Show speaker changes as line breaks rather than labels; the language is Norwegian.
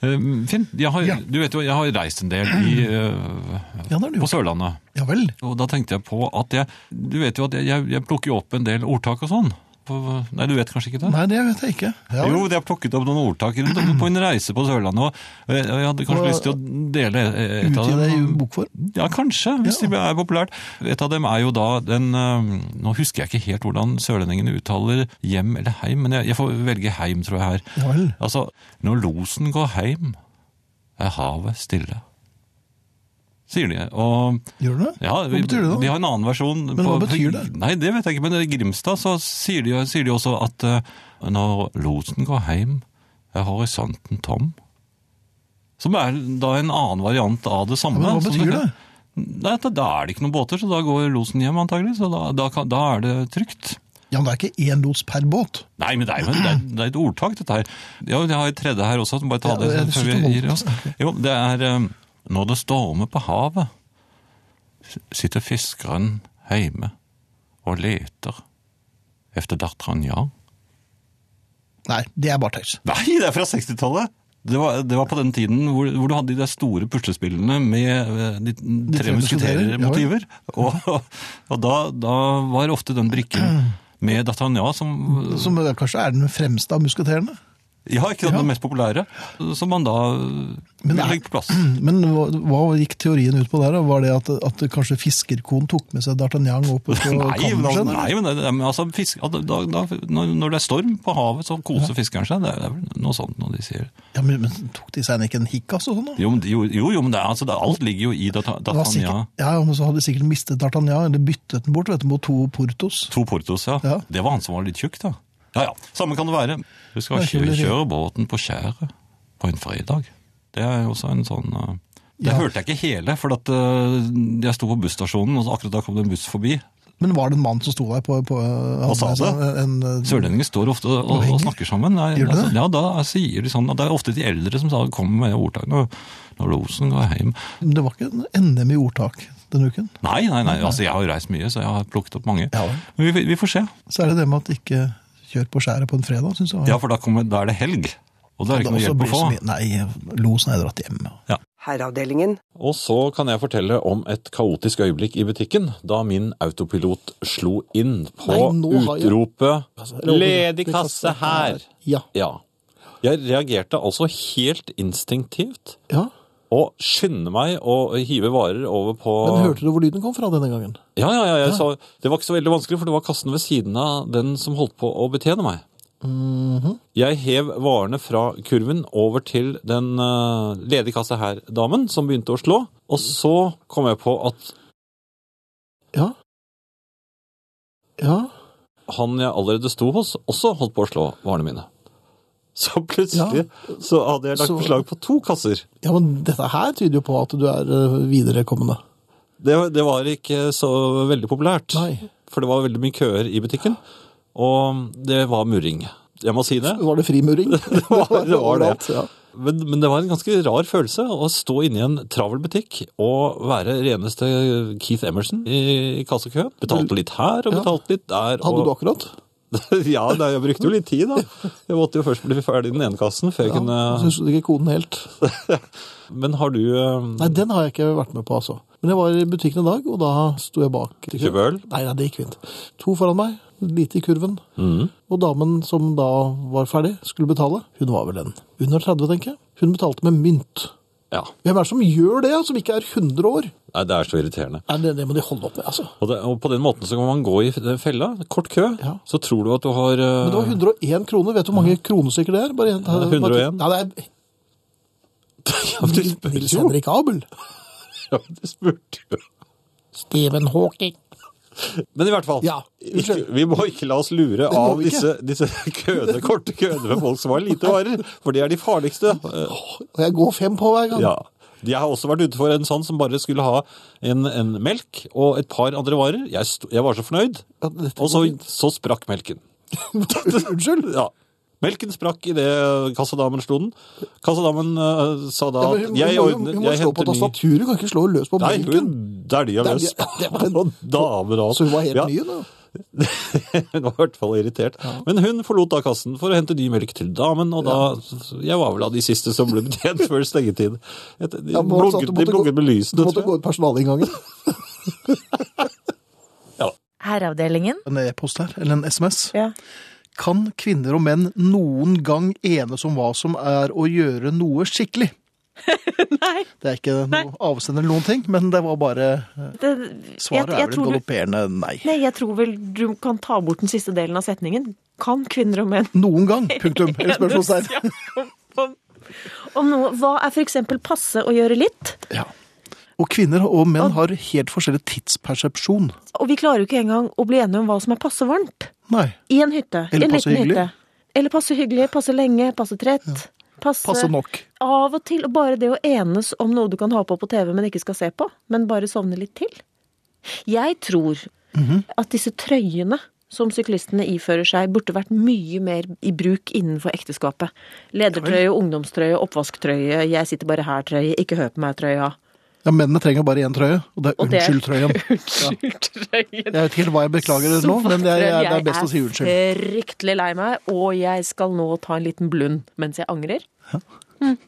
Eh, Finn, jeg har,
Ja.
du vet jo, jeg har reist en del i, eh,
Ja, det har du
på
gjort.
Sørlandet.
Ja vel.
Og da tenkte jeg på at jeg Du vet jo at jeg, jeg plukker jo opp en del ordtak og sånn. På- Nei, du vet kanskje ikke det?
Nei, det vet jeg ikke. Ja, vel.
Jo, de har plukket opp noen ordtak rundt om på en reise på Sørlandet. Og eh, jeg hadde kanskje
Og-
lyst til å dele eh, et av
Utgi det i
dem.
bokform.
Ja, kanskje, hvis
Ja.
det er populært. Et av dem er jo da den eh, Nå husker jeg ikke helt hvordan sørlendingene uttaler hjem eller heim, men jeg, jeg får velge heim, tror jeg, her.
Ja vel.
Altså, når losen går heim, er havet stille. Sier de. Og
Gjør du det?
ja, vi-
Hva betyr det da?
De har en annen versjon.
Men hva betyr det?
Nei, det vet jeg ikke, men i Grimstad så sier de, sier de også at eh, når losen går hjem, er horisonten tom. Som er da en annen variant av sånn det samme.
Ja, men hva
som
betyr det?
Nei, at da er det ikke noen båter, så da går losen hjem antagelig, så da, da, kan, da er det trygt.
Ja, men det er ikke én los per båt.
Nei, men det er jo det er, det er et ordtak, dette her. Ja, jeg har et tredje her også. Bare ta
Ja,
det
jeg
før
synes
vi
det holdt.
gir oss. Jo, det er eh, Når det stormer på havet, s- sitter fiskeren heime og leter efter datteren ja.
Nei, det er bare tøys.
Nei, det er fra 60-tallet! Det var, det var på den tiden hvor, hvor du hadde de der store puslespillene med eh, de, tre
tre musketerer,
musketerer-motiver. Og, og da, da var ofte den brikken med datteren ja som
Som eh, kanskje er den fremste av musketerene.
Ja, ikke sant, den mest populære, som man da vil
det er-
legge på plass.
Men hva, hva gikk teorien ut på der? da? Var det at, at kanskje fiskerkoen tok med seg D'Artagnan opp på
Nei, men, al-
kammerset?
nei, men, det- men altså, fisk, at da, da, når, når det er storm på havet, så koser fiskeren seg. Det er, det er vel noe sånt når de sier.
Ja, men, men tok de seg ikke en hikkas og sånn da?
Jo, men- jo, jo, jo men det er, altså, det, er- alt ligger jo i Data-
Det var
Datania.
sikkert, ja, men så hadde de sikkert mistet D'Artagnan, eller byttet den bort, vet du, mot to Portos.
To portos, ja.
Ja.
Det var han som var litt tjukk, da. Ja, ja. Samme kan det være. Du skal
Det er
kjøre,
kjøleri.
kjøre båten på skjæret på en fredag. Det er jo også en sånn eh, det
Ja.
hørte jeg ikke hele, for at eh, jeg sto på busstasjonen, og så akkurat da kom det en buss forbi.
Men var det en mann som sto der på... på
Og sa
hadde
det?
En, eh, en-
Sørlendinger står ofte og,
Og henger.
og snakker sammen. Nei,
Gjør de
altså,
det?
Ja, da sier de sånn, og det er ofte de eldre som sa- kommer med ordtak når, når losen går hjem.
men det var ikke en NM i ordtak denne uken.
Nei, nei, nei, altså jeg har jo reist mye, så jeg har plukket opp mange.
Ja vel.
Men vi, vi får se.
Så er det det med at ikke kjør på skjæret på en fredag, synes jeg. var-
Ja, for da, kommer, da er det helg, og da er det ikke noe
også
hjelp å
blir
få.
så mye- Nei, losen er dratt hjem.
Herreavdelingen.
Og så kan jeg fortelle om et kaotisk øyeblikk i butikken, da min autopilot slo inn på
Nei, nå har jeg- Altså,
utropet «Ledig kasse her!»
Ja.
Ja. Jeg reagerte altså helt instinktivt.
Ja,
og skynde meg å hive varer over på
men hørte du hvor lyden kom fra denne gangen?
Ja, ja, ja, jeg sa Det var ikke så veldig vanskelig, for det var kassen ved siden av den som holdt på å betjene meg. Jeg hev varene fra kurven over til den eh, ledige kassa her-damen, som begynte å slå. Og så kom jeg på at
Ja. Ja.
han jeg allerede sto hos, også holdt på å slå varene mine. Så plutselig så hadde jeg lagt
så-
beslag på to kasser.
Ja, men dette her tyder jo på at du er eh, viderekommende.
Det, det var ikke så veldig populært.
Nei.
For det var veldig mye køer i butikken, og det var murring. Jeg må si det.
Var det frimuring? det
var- det var det.
Ja.
Men, men det var en ganske rar følelse å stå inne i en travel butikk og være reneste Keith Emerson i kassekøen. Betalte litt her og
Ja.
betalte litt der.
Hadde du
og...
akkurat?
ja, nei, jeg brukte jo litt tid da. Jeg måtte jo først bli ferdig i den ene kassen før jeg
Ja,
kunne
Syns du ikke koden helt?
Men har du eh,
Nei, den har jeg ikke vært med på, altså. Men jeg var i butikken en dag, og da sto jeg bak.
Kjøpte øl?
Nei, nei, det gikk fint. To foran meg, lite i kurven. Og damen som da var ferdig, skulle betale. Hun var vel en under 30, tenker jeg. Hun betalte med mynt.
Ja.
Hvem er det som gjør det, som ikke er 100 år?
Nei, det er så irriterende.
Nei, det, det må de holde opp med, altså.
Og, det, og på den måten så kan man gå i fella. Kort kø,
Ja.
så tror du at du har eh,
Men det var 101 kroner. Vet du hvor mange kronestykker det er? Bare, en-
Ja, 101.
Nei, det er
Ja, men du spør
Nils
jo!
Henrik Abel.
Ja, men du spurte jo.
Stephen Hawking.
Men i hvert fall,
Ja,
ikke, vi må ikke la oss lure
må
av
vi ikke.
disse, disse køene, korte køene med folk som har lite varer, for de er de farligste. Eh,
Og jeg går fem på hver gang.
Ja. Jeg har også vært ute for en sånn som bare skulle ha en, en melk og et par andre varer. Jeg, sto, jeg var så fornøyd,
Ja, dette
og så,
går fint.
så sprakk melken.
Unnskyld?
Ja. Melken sprakk idet kassadamen slo den. Kassadamen eh, sa da
Ja, men
at
hun,
jeg
hun, hun,
ordner
hun må
jeg
slå på
henter ny-
tastaturet, hun kan ikke slå løs på
Nei,
benken.
hun dælja
Dælja-
løs.
det var en-
Og damer og alt.
Så hun var helt
Ja.
ny, da?
Hun var i hvert fall irritert. Men hun forlot da kassen for å hente ny melk til damen, og da Jeg var vel av de siste som ble betjent før stengetid. Et, de
Ja, men også at
blunket de
du måtte gå-
blunket med
Du
lysene,
måtte
tror jeg.
gå i personalinngangen.
Herreavdelingen.
En e-post her, eller en SMS.
Ja.
Kan kvinner og menn noen gang enes om hva som er å gjøre noe skikkelig?
Nei,
Det er ikke noe avsender eller noen ting, men det var bare
det, jeg,
Svaret er
jeg,
vel et
tror du,
galopperende nei.
nei, jeg tror vel du kan ta bort den siste delen av setningen. Kan kvinner og menn
Noen gang, punktum. Eller spørsmålstegn.
enes om- om- Om noe, hva er for eksempel passe å gjøre litt?
Ja. Og kvinner og menn har helt forskjellig tidspersepsjon.
Og vi klarer jo ikke engang å bli enige om hva som er passe varmt.
Nei.
I en hytte.
Eller
en
passe
liten
hyggelig.
hytte. Eller passe hyggelig, passe lenge, passe trett. Passe,
Passe nok.
Av og til, og bare det å enes om noe du kan ha på på TV, men ikke skal se på, men bare sovne litt til. Jeg tror
Mhm.
at disse trøyene som syklistene ifører seg, burde vært mye mer i bruk innenfor ekteskapet. Ledertrøye, ungdomstrøye, oppvasktrøye, jeg sitter bare her-trøye, ikke hør på meg-trøya.
Ja, Mennene trenger bare én trøye, og det er
Og det er-
unnskyld-trøyen.
Unnskyld-trøyen.
Jeg vet ikke helt hva jeg beklager nå, men det er, jeg, det er best å si unnskyld.
fryktelig lei meg, og jeg skal nå ta en liten blund mens jeg angrer.